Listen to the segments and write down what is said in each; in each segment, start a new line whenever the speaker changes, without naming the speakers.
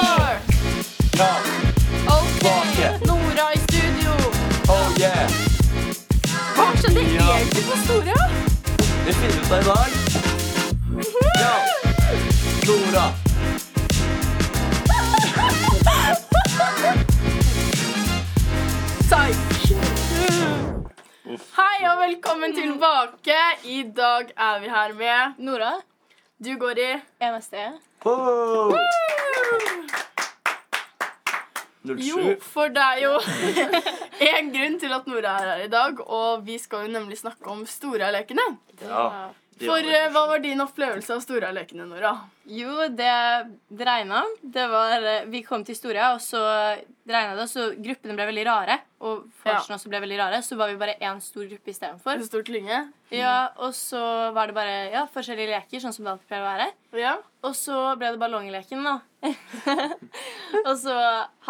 Oh, gutta i dag. Ja. Nora.
Psych! Hei og velkommen tilbake. I dag er vi her med
Nora,
Du går i
MSD.
Wow. 07.
Jo, for det er jo én grunn til at Nora er her i dag, og vi skal jo nemlig snakke om Storalekene.
Ja. det
For
gjør
eh,
det.
hva var din opplevelse av Storalekene, Nora?
Jo, det, det regna. Det var, eh, vi kom til Storia, og så regna det, og så gruppene ble veldig rare. Og vorsen også ble veldig rare, så var vi bare én stor gruppe istedenfor.
En stor klynge?
Ja, og så var det bare ja, forskjellige leker, sånn som det alltid pleier å være.
Ja.
Og så ble det ballongleken, da. og så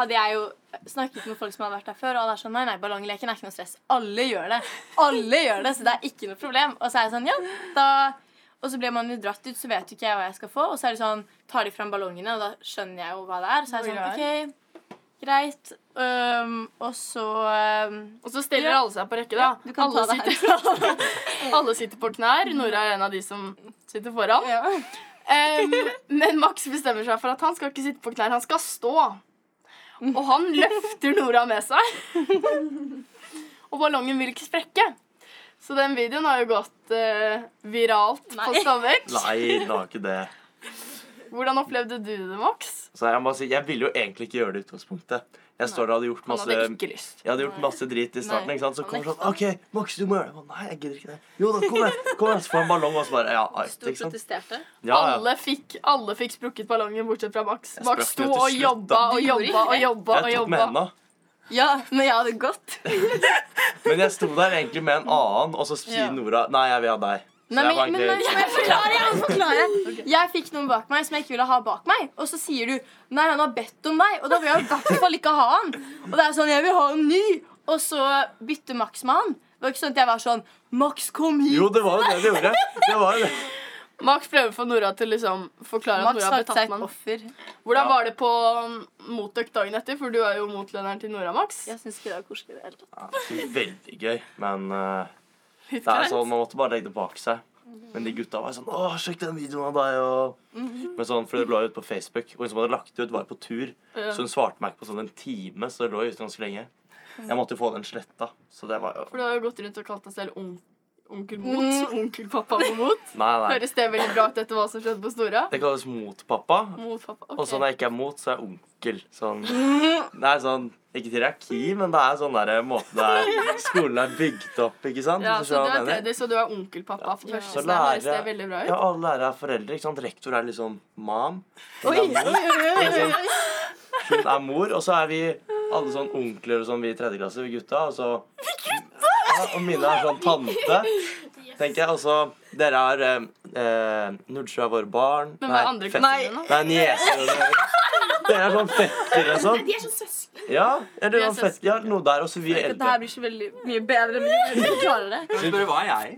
hadde jeg jo snakket med folk som hadde vært der før, og alle er sånn Nei, nei, ballongleken er ikke noe stress. Alle gjør det. Alle gjør det, så det er ikke noe problem. Og så er jeg sånn Ja, da Og så blir man jo dratt ut, så vet jo ikke jeg hva jeg skal få. Og så er det sånn Tar de fram ballongene, og da skjønner jeg jo hva det er. Så er jeg sånn OK, greit. Um, og så um,
Og så stiller
Ja.
alle seg på rekke, da.
Du kan
alle,
ta det
sitter, alle sitter på knær. Nora er en av de som sitter foran.
ja.
Em, men Max bestemmer seg for at han skal ikke sitte på knær, han skal stå. Og han løfter Nora med seg. Og ballongen vil ikke sprekke. Så den videoen har jo gått eh, viralt
Nei.
på Stabekk.
Nei, det var ikke det.
Hvordan opplevde du det, Max?
Så jeg, må si, jeg ville jo egentlig ikke gjøre det i utgangspunktet. Jeg står der og hadde gjort
Han
masse
hadde ikke lyst.
jeg hadde gjort masse drit i starten.
Nei.
ikke sant? Så
Han
kommer sånn OK,
nekta.
Max, du må gjøre det. Jeg bare, Nei, jeg gidder ikke det. Jo da, kom her. Kom her. Så får han ballong, og så bare Ja, alt,
Stort
ikke sant?
protesterte.
Ja, ja.
Alle, fikk, alle fikk sprukket ballongen, bortsett fra Max.
Jeg
Max
sprakk
sto
den jo
og
til slutt,
jobba
da.
og
Du gjorde
jobba
ikke
og
det.
jobba. og
Jeg tok med
jobba.
henda.
Ja, men jeg hadde gått.
Men jeg sto der egentlig med en annen, og så sier
Ja.
Nora Nei, jeg vil ha deg. Så
Nei,
jeg var
men, men
egentlig-
men jeg må forklare, jeg må forklare. Jeg fikk noen bak meg som jeg ikke ville ha bak meg. Og så sier du nei, han har bedt om deg. Og da vil jeg i hvert fall ikke ha han. Og det er sånn, jeg vil ha en ny. Og så bytter Max med han. Det var ikke sånn at jeg var sånn Max, kom hit.
Jo, det var jo det du gjorde. Det var jo det.
Max prøver for Nora til å liksom forklare at
Max
Nora
har
ble
tatt
tatt
seg
med
et
en
offer.
Hvordan
Ja.
var det på um, Motøk dagen etter? For du er jo motlønneren til Nora Max.
Jeg syns ikke det var koselig i det hele tatt.
Ja, det var veldig gøy, men eh,
Litt
det er
greit.
sånn, man måtte bare legge det bak seg. Men de gutta var sånn 'Å, sjekk den videoen av deg', og
Mhm.
Men sånn, For det lå jo ute på Facebook, og hun som hadde lagt det ut, var på tur.
Ja.
Så hun svarte meg ikke på sånn en time, så det lå ute ganske lenge. Jeg måtte jo få den sletta. Så det var jo
For du har jo gått rundt og kalt deg selv on onkel Mot. Onkel pappa på Mot.
Nei, nei.
Høres det veldig bra ut etter hva som skjedde på Stora?
Det kalles mot pappa.
Mot pappa. ok.
Og så når jeg ikke er mot, så er jeg onkel. Sånn. Det er sånn Ikke hierarki, men det er sånn der måten det er skolen er bygd opp, ikke sant?
ja,
Hvis du
så du
skjønner hva
er
jeg mener.
tredje, så du er onkelpappa for
Ja.
første.
Så
Så det høres det
lærer-
veldig bra ut.
Ja, alle lærere er foreldre. ikke sant? Rektor er liksom mam.
Oi, oi, oi, oi, oi, oi.
liksom- Hun er mor, og så er vi alle sånn onkler og sånn, vi i tredje klasse, vi gutta. Og så ja, Og mine er sånn tante, tenker jeg. Og så dere er eh, eh, Nordsjø er våre barn.
Men hva er andre klassen
nei.
din, da?
Nei, nieser. og sånn. Dere er sånn fettere og sånn.
er sånn søsken.
Ja,
Vi
eller
er
sånn fett, ja, noe der, og så vi er
Dette
eldre.
her blir så veldig mye bedre enn vi forklarer det.
Kan du spørre hva er jeg?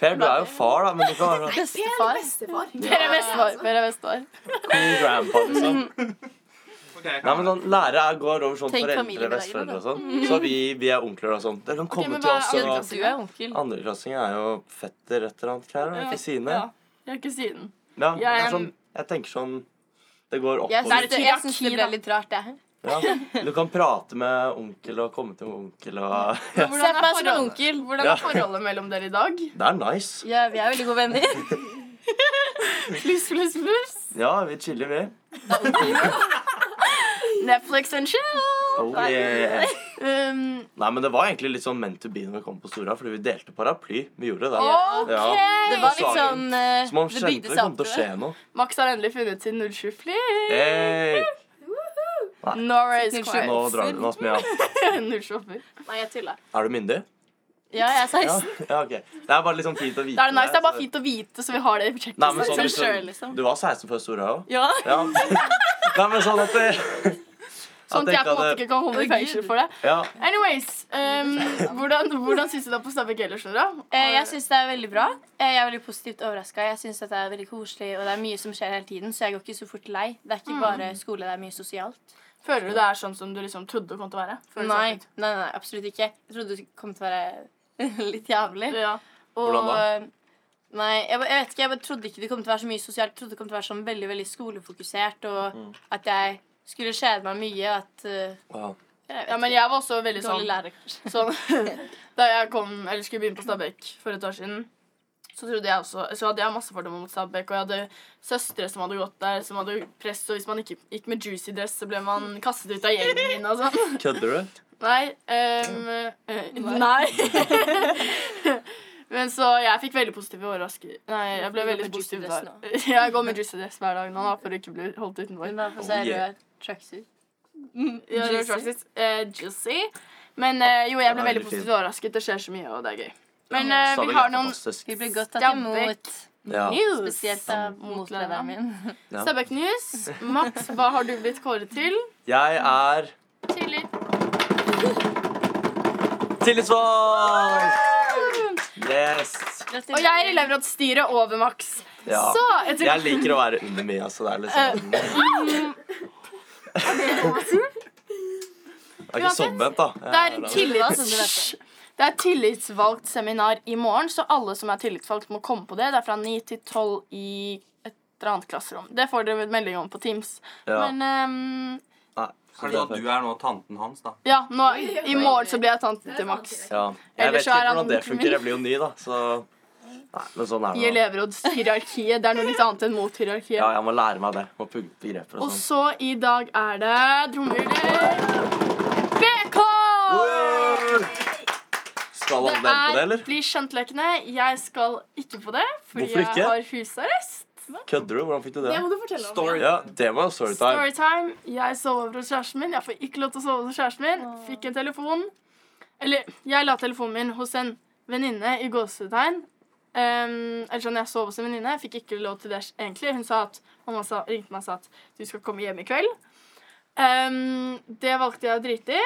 Per, du er jo far, da, men du kan være sånn
Bestefar.
Bestefar.
Dere er bestefar. Dere er bestefar.
cool grandpa, liksom.
Ok, jeg
Nei,
kan
men sånn, Lærere går over sånn
Tenk
foreldre,
familiemiddagen,
besteforeldre og sånn. Så vi, vi er onkler og sånn. Dere kan komme
men
til
hva
oss.
er
og...
Du er onkel.
Andreklassinger er jo fetter et eller annet klær.
Ja.
Ja. Kusine.
Ja. Jeg
Ja.
er kusinen.
det er
Jeg,
sånn, jeg tenker sånn Det går
Jeg
oppover.
syns det, jeg syns det ble litt rart, jeg.
Ja. Du kan prate med onkel og komme til onkel og ja.
Hvordan
Se
er
på meg som en
forholdet-
onkel.
Hvordan
Ja.
er forholdet mellom dere i dag?
Det er nice.
Ja, vi er veldig gode venner.
Pluss, pluss, pluss.
Ja, vi chiller, vi.
Netflix and chill.
Oh, yeah.
Um,
Nei, men det var egentlig litt sånn meant to be når vi kom på Stora, fordi vi delte paraply. Vi gjorde det.
OK!
Ja.
Det var litt sånn eh,
Så man
Det
kjente
bygde
det
seg
kom
opp.
til å skje noe.
Max har endelig funnet sin 07-fly.
Hey,
Nora is
07.
quiet.
nå drar du med oss, Mia.
07-er.
Nei, jeg tulla.
Er du myndig?
eh. Ja, jeg er 16.
Ja, ja ok. Det er bare litt sånn fint å vite.
Da er det nice. Det er
så-
bare fint å vite, så vi har det i
Nei, men
sjekklisten.
sånn,
Seg selv,
liksom,
liksom.
du var 16 før Stora òg?
Ja.
Ja. Nei, men sånn at det-
Sånn at jeg på en måte ikke kan holde i
Å, Gud.
fengsel for det.
Ja,
Anyways, um, hvordan, hvordan syns du det er på Stabæk ellers, Nora?
Eh, Jeg syns det er veldig bra. Eh, Jeg er veldig positivt overraska. Jeg syns det er veldig koselig, og det er mye som skjer hele tiden, så jeg går ikke så fort lei. Det er ikke bare skole, det er mye sosialt.
Føler du det er sånn som du liksom trodde det kom til å være? Føles
Nei,
det
sånn. nei, nei, absolutt ikke. Jeg trodde det kom til å være litt jævlig.
sånn? Ja.
Og
Hvordan
eh, Nei, jeg, ba- jeg vet ikke, jeg bare trodde ikke det kom til å være så mye sosialt. Jeg trodde det kom til å være sånn veldig veldig skolefokusert, og
Mm.
at jeg skulle kjede meg mye. og At eh,
Ja.
jeg vet
Ja, men jeg var også veldig
ikke,
sånn
Dårlig lærer, kanskje.
Sånn, da jeg kom, eller skulle begynne på Stabekk for et år siden, så, trodde jeg også, så hadde jeg masse fordommer mot Stabekk. Og jeg hadde søstre som hadde gått der, som hadde press. Og hvis man ikke gikk med juicy dress, så ble man kastet ut av gjengen min og sånn.
Kødder du?
Nei. ehm, eh, nei. Men så jeg fikk veldig positive overraskelser. Nei, jeg ble
Du går
veldig
med juicy
positiv
dress
der. Jeg går med juicy dress hver dag nå da, for å ikke bli holdt utenfor.
Hun var på
Oh,
seg
yeah.
rød tracksuit.
Ja, det
Juicy.
var faktisk, eh, juicy. Men eh, jo, jeg ble
Den er
veldig
veldig fin.
positivt overrasket. Det skjer så mye, og det er gøy. Men eh,
Stabæk
vi
er
har noen
fantastisk.
Vi ble godt tatt
Stabæk.
imot.
Ja.
Spesielt av motlederen min.
Ja.
Stabæk News. Max, hva har du blitt kåret til?
Jeg er
Tidlig.
tillitsvalgt! Yes.
Og jeg er i elevrådsstyret over Max.
Ja.
Så Eh, jeg tror
Jeg liker å være under mye, altså. Det er liksom Det er ikke sovbent, da.
det er
Jeg-
tillits... Det er tillitsvalgt seminar i morgen, så alle som er tillitsvalgt, må komme på det. Det er fra 9 til 12 i et eller annet klasserom. Det får dere melding om på Teams.
Ja.
Men ehm,
Nei, så
Kanskje
det er
sånn at
fett.
du er nå tanten hans, da.
ja, nå, i morgen så blir jeg tanten til Max.
Ja. Jeg
Eller
vet
så
ikke
er han
hvordan det
onkel
funker.
min.
Jeg blir jo ny, da. Så Nei, men sånn er
I
det. da.
elevrådshierarkiet. Det er noe litt annet enn mot hierarkiet.
Ja, jeg må lære meg det. Må pugge begreper og
Og
sånn.
så i dag er det trommehyler BK!
Skal alle
Det
dere på det,
er
eller?
Bli kjent-lekene. Jeg skal ikke på det, fordi
Hvorfor ikke?
jeg har husarrest.
Kødder du? Hvordan fikk du det?
Det må du fortelle om.
Story.
Ja, det var storytime.
Storytime. Jeg sover over hos kjæresten min. Jeg får ikke lov til å sove hos kjæresten min. Fikk en telefon. Eller, jeg la telefonen min hos en venninne i gåsetegn. Um, eller sånn, Jeg sov hos en venninne. Fikk ikke lov til det egentlig. Hun sa at, Mamma sa, ringte meg og sa at du skal komme hjem i kveld. Ehm, det valgte jeg å drite i.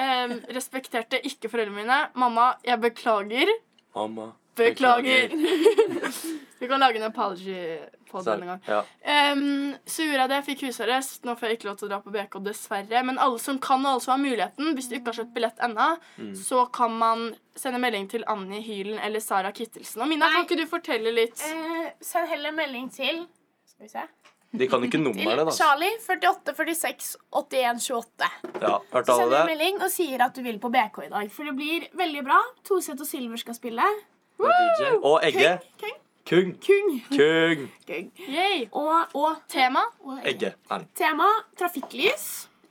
Ehm, respekterte ikke foreldrene mine. Mamma, jeg beklager.
Mamma.
Beklager. Vi kan lage en apology på denne gang.
Ja.
Ehm, så gjorde jeg det. Jeg fikk husarrest. Nå får jeg ikke lov til å dra på BK, dessverre. Men alle som kan, og alle som har muligheten, hvis du ikke har kjøpt billett ennå, så kan man sende melding til Annie Hylen eller Sara Kittelsen. Og Mina, kan
Nei.
ikke du fortelle litt?
Eh, send heller melding til Skal vi se.
De kan ikke
Til
nummeret, da.
Charlie 48 46 81 28.
Ja, hørte
Så sender
alle
du en
det?
melding og sier at du vil på BK i dag. For det blir veldig bra. Toseth og Silver skal spille.
Med DJ. Og Egge.
Kung,
Kung.
Kung.
Kung.
Kung.
Yay.
Og, og
Tema?
Egge. Nei.
tema trafikklys.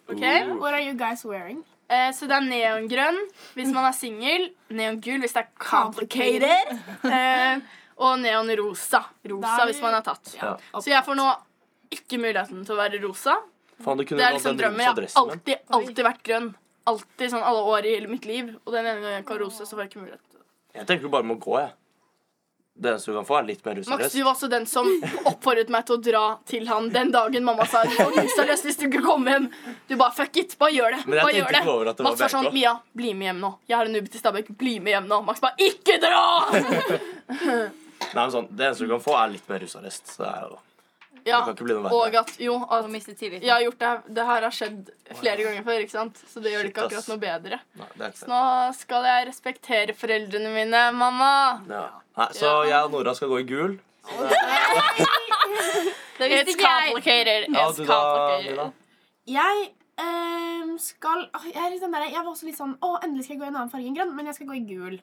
OK.
Uh.
What are you guys wearing?
Eh, så det er neongrønn hvis man er singel. Neongul hvis det er complicated. Eh, og neonrosa.
Da
Rosa
er vi-
hvis man er tatt.
Ja.
Så jeg får nå ikke muligheten til å være rosa.
Faen, du kunne
Det er
valgt
liksom
den
drømmen.
rosa
Jeg har
dressen min.
alltid, alltid vært grønn. Alltid sånn alle år i hele mitt liv. Og den ene gangen jeg kan rose, så får jeg ikke mulighet.
Jeg tenker du bare må gå, jeg. Det eneste du kan få, er litt mer
Max,
russerøst.
du var også den som oppfordret meg til å dra til han den dagen mamma sa du får husarrest hvis du ikke kommer hjem. Du bare fuck it, bare gjør det.
Men jeg
Bare
tenkte
gjør det.
ikke over at det var
Max var sånn
BK.
Mia, bli med hjem nå. Jeg har en Uber til Stabæk, bli med hjem nå. Max bare ikke dra!
Nei, men sånn, Det eneste du kan få, er litt mer rusarrest. Så det er jo
Ja,
kan ikke bli noe verre.
og at jo,
Og
at
mistet tilliten.
jeg har gjort det. Det her har skjedd flere ganger før, ikke sant? Så det gjør det ikke
Shit,
akkurat
ass.
noe bedre.
Nei, det er ikke
Nå skal jeg respektere foreldrene mine, mamma.
det. Ja. Nei, så jeg og Nora skal gå i gul.
Det
It's
visste ikke jeg.
complicated.
Ja,
It's
du da,
complicated.
Nina?
Jeg ehm, skal åh, jeg, er litt sånn der, jeg var også litt sånn Å, endelig skal jeg gå i en annen farge enn grønn, men jeg skal gå i gul.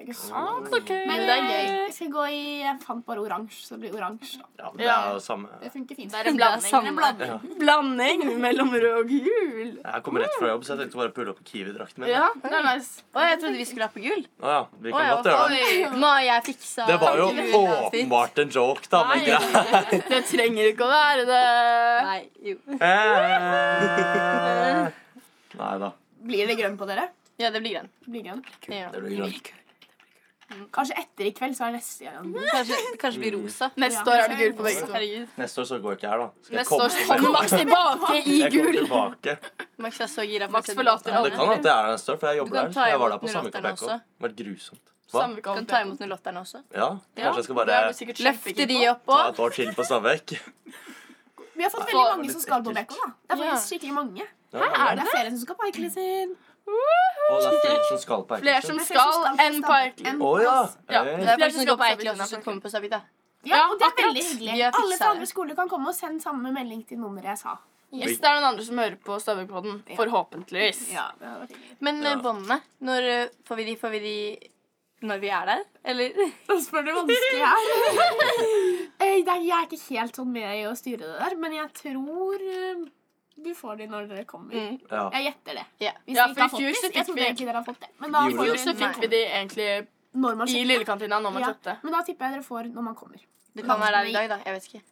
Så jeg, er ikke
Ah,
så, men,
Men det er
eh,
gøy.
jeg skal gå i Jeg fant bare oransje, så det blir oransje. da.
Ja, men det er jo samme.
Det funker fint.
Det er en blanding.
Det er en blanding.
Ja.
Blanding mellom rød og gul.
Jeg kommer rett fra jobb, så jeg tenkte bare å pulle opp Kiwi-drakten min.
Ja, det er nice.
Å, jeg trodde vi skulle ha på gull.
Å ja, vi
Å ja,
kan godt gjøre det.
oi.
Nå har jeg fiksa
Det var jo
gull, outfit.
åpenbart en joke, da. Men
Nei.
greit.
Det trenger ikke å være det.
Nei, jo.
Eh. Nei da.
Blir det grønn på dere?
Ja, det blir grønn.
Det blir grønn.
Det
Det
gjør det.
blir grønt.
Kanskje etter i kveld, så er neste gang.
Kanskje, kanskje blir rosa.
Neste år er det gul på begge to.
Herregud.
Neste år så går jeg ikke her, da. Skal jeg
Neste
komme
år kommer Max tilbake i
Jeg kommer
gul.
tilbake.
Max er så gira. på
Max
å se
forlater
den.
Ja, det kan at det er der neste år, for jeg
Du
jobber
kan
der.
ta
Jeg var der
imot
på Samvika
Nurotterne
BK.
også.
Det var grusomt. Hva?
Samme
Du
gang.
kan ta imot nulotterne også.
Ja,
Ja,
kanskje jeg skal
det
bare
er du sikkert
Løfte de
kjempegod på.
ta
opp òg.
et år til på Stabekk.
Vi har fått
det
veldig
var
mange
litt
som skal på
ekkelt.
BK. da. Det
Ja.
er faktisk skikkelig mange.
Ja,
er
Det er flere som skal på Eikelisin.
Og det er flere som skal på
Flere som Mm.
Eikersund.
skal enn på Erkelig.
Å ja.
Ja,
Hey.
det er
Flere som går på Eikeland,
Eikeland,
som kommer på Stabita.
Ja, og det er
akkurat.
veldig hyggelig.
Vi har fiksa
Alle fra andre
det.
skoler kan komme og sende samme melding til nummeret jeg sa.
Hvis det er noen andre som hører på Stavrekoden, forhåpentligvis.
det hadde vært hyggelig.
Men
Ja.
eh, båndene, når eh, får vi de? Får vi de når vi er der? Eller?
Da spør du vanskelig her. Eh, nei, Jeg er ikke helt sånn med i å styre det der, men jeg tror eh, du får de når dere kommer.
Mm.
Ja.
Jeg gjetter det.
Ja.
Hvis
Ja, for i
dere ikke har fått
fjor så
det.
fikk
Jeg trodde
vi-
egentlig dere hadde fått det. Men da
I
får
fjor
Jo,
dere
så
når man
fikk vi de egentlig
kommer. når man
i
kjøper.
lillekantina når man
Ja.
kjøpte.
Men da tipper jeg dere får når man kommer.
Du kan være der i dag, da. Jeg vet ikke.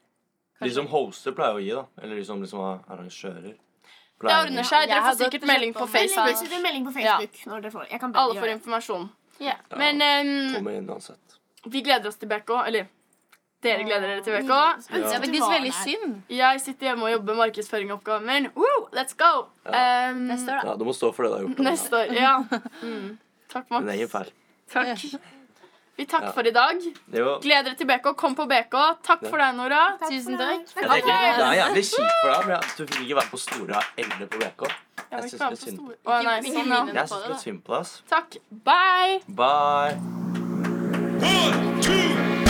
De som hoster, pleier å gi, da. Eller de som liksom er arrangører.
Det
Pleier å gi.
ordner seg.
Jeg
Dere
har
får
gått
sikkert
og
melding på
kjøpt på
Men legg
Facebook.
ut en melding på Facebook når dere får. Jeg kan
Alle får
gjøre det.
informasjon.
Ja.
Men ehm,
Kommer inn uansett.
vi gleder oss til BK. Eller dere gleder dere til BK.
Ønsker
Ja.
Men
at du
de er
var
veldig
der.
synd.
Jeg sitter hjemme og jobber med markedsføringoppgaven min. Woo, let's go!
Ja.
Ehm,
Neste år, da.
Ja, du må stå for det du har gjort.
neste år, ja. Mm. Takk,
Din egen
Max.
feil.
Takk. Vi takker
Ja.
for i dag.
Jo.
Gleder dere til BK. Kom på BK. Takk for deg, Nora.
Takk
Tusen
for meg.
takk.
Jeg
Ok.
tenker, det er jævlig kjipt for deg, men jeg- du fikk ikke være på Storøya eller på BK.
Jeg
Jeg
vil
syns
ikke være
litt
på
synd.
stor- Å, nei,
Ikke-
sånn,
ikke
ja.
mine.
Jeg syns litt synd på deg. ass.
Takk. Bye.
Bye.
One, two,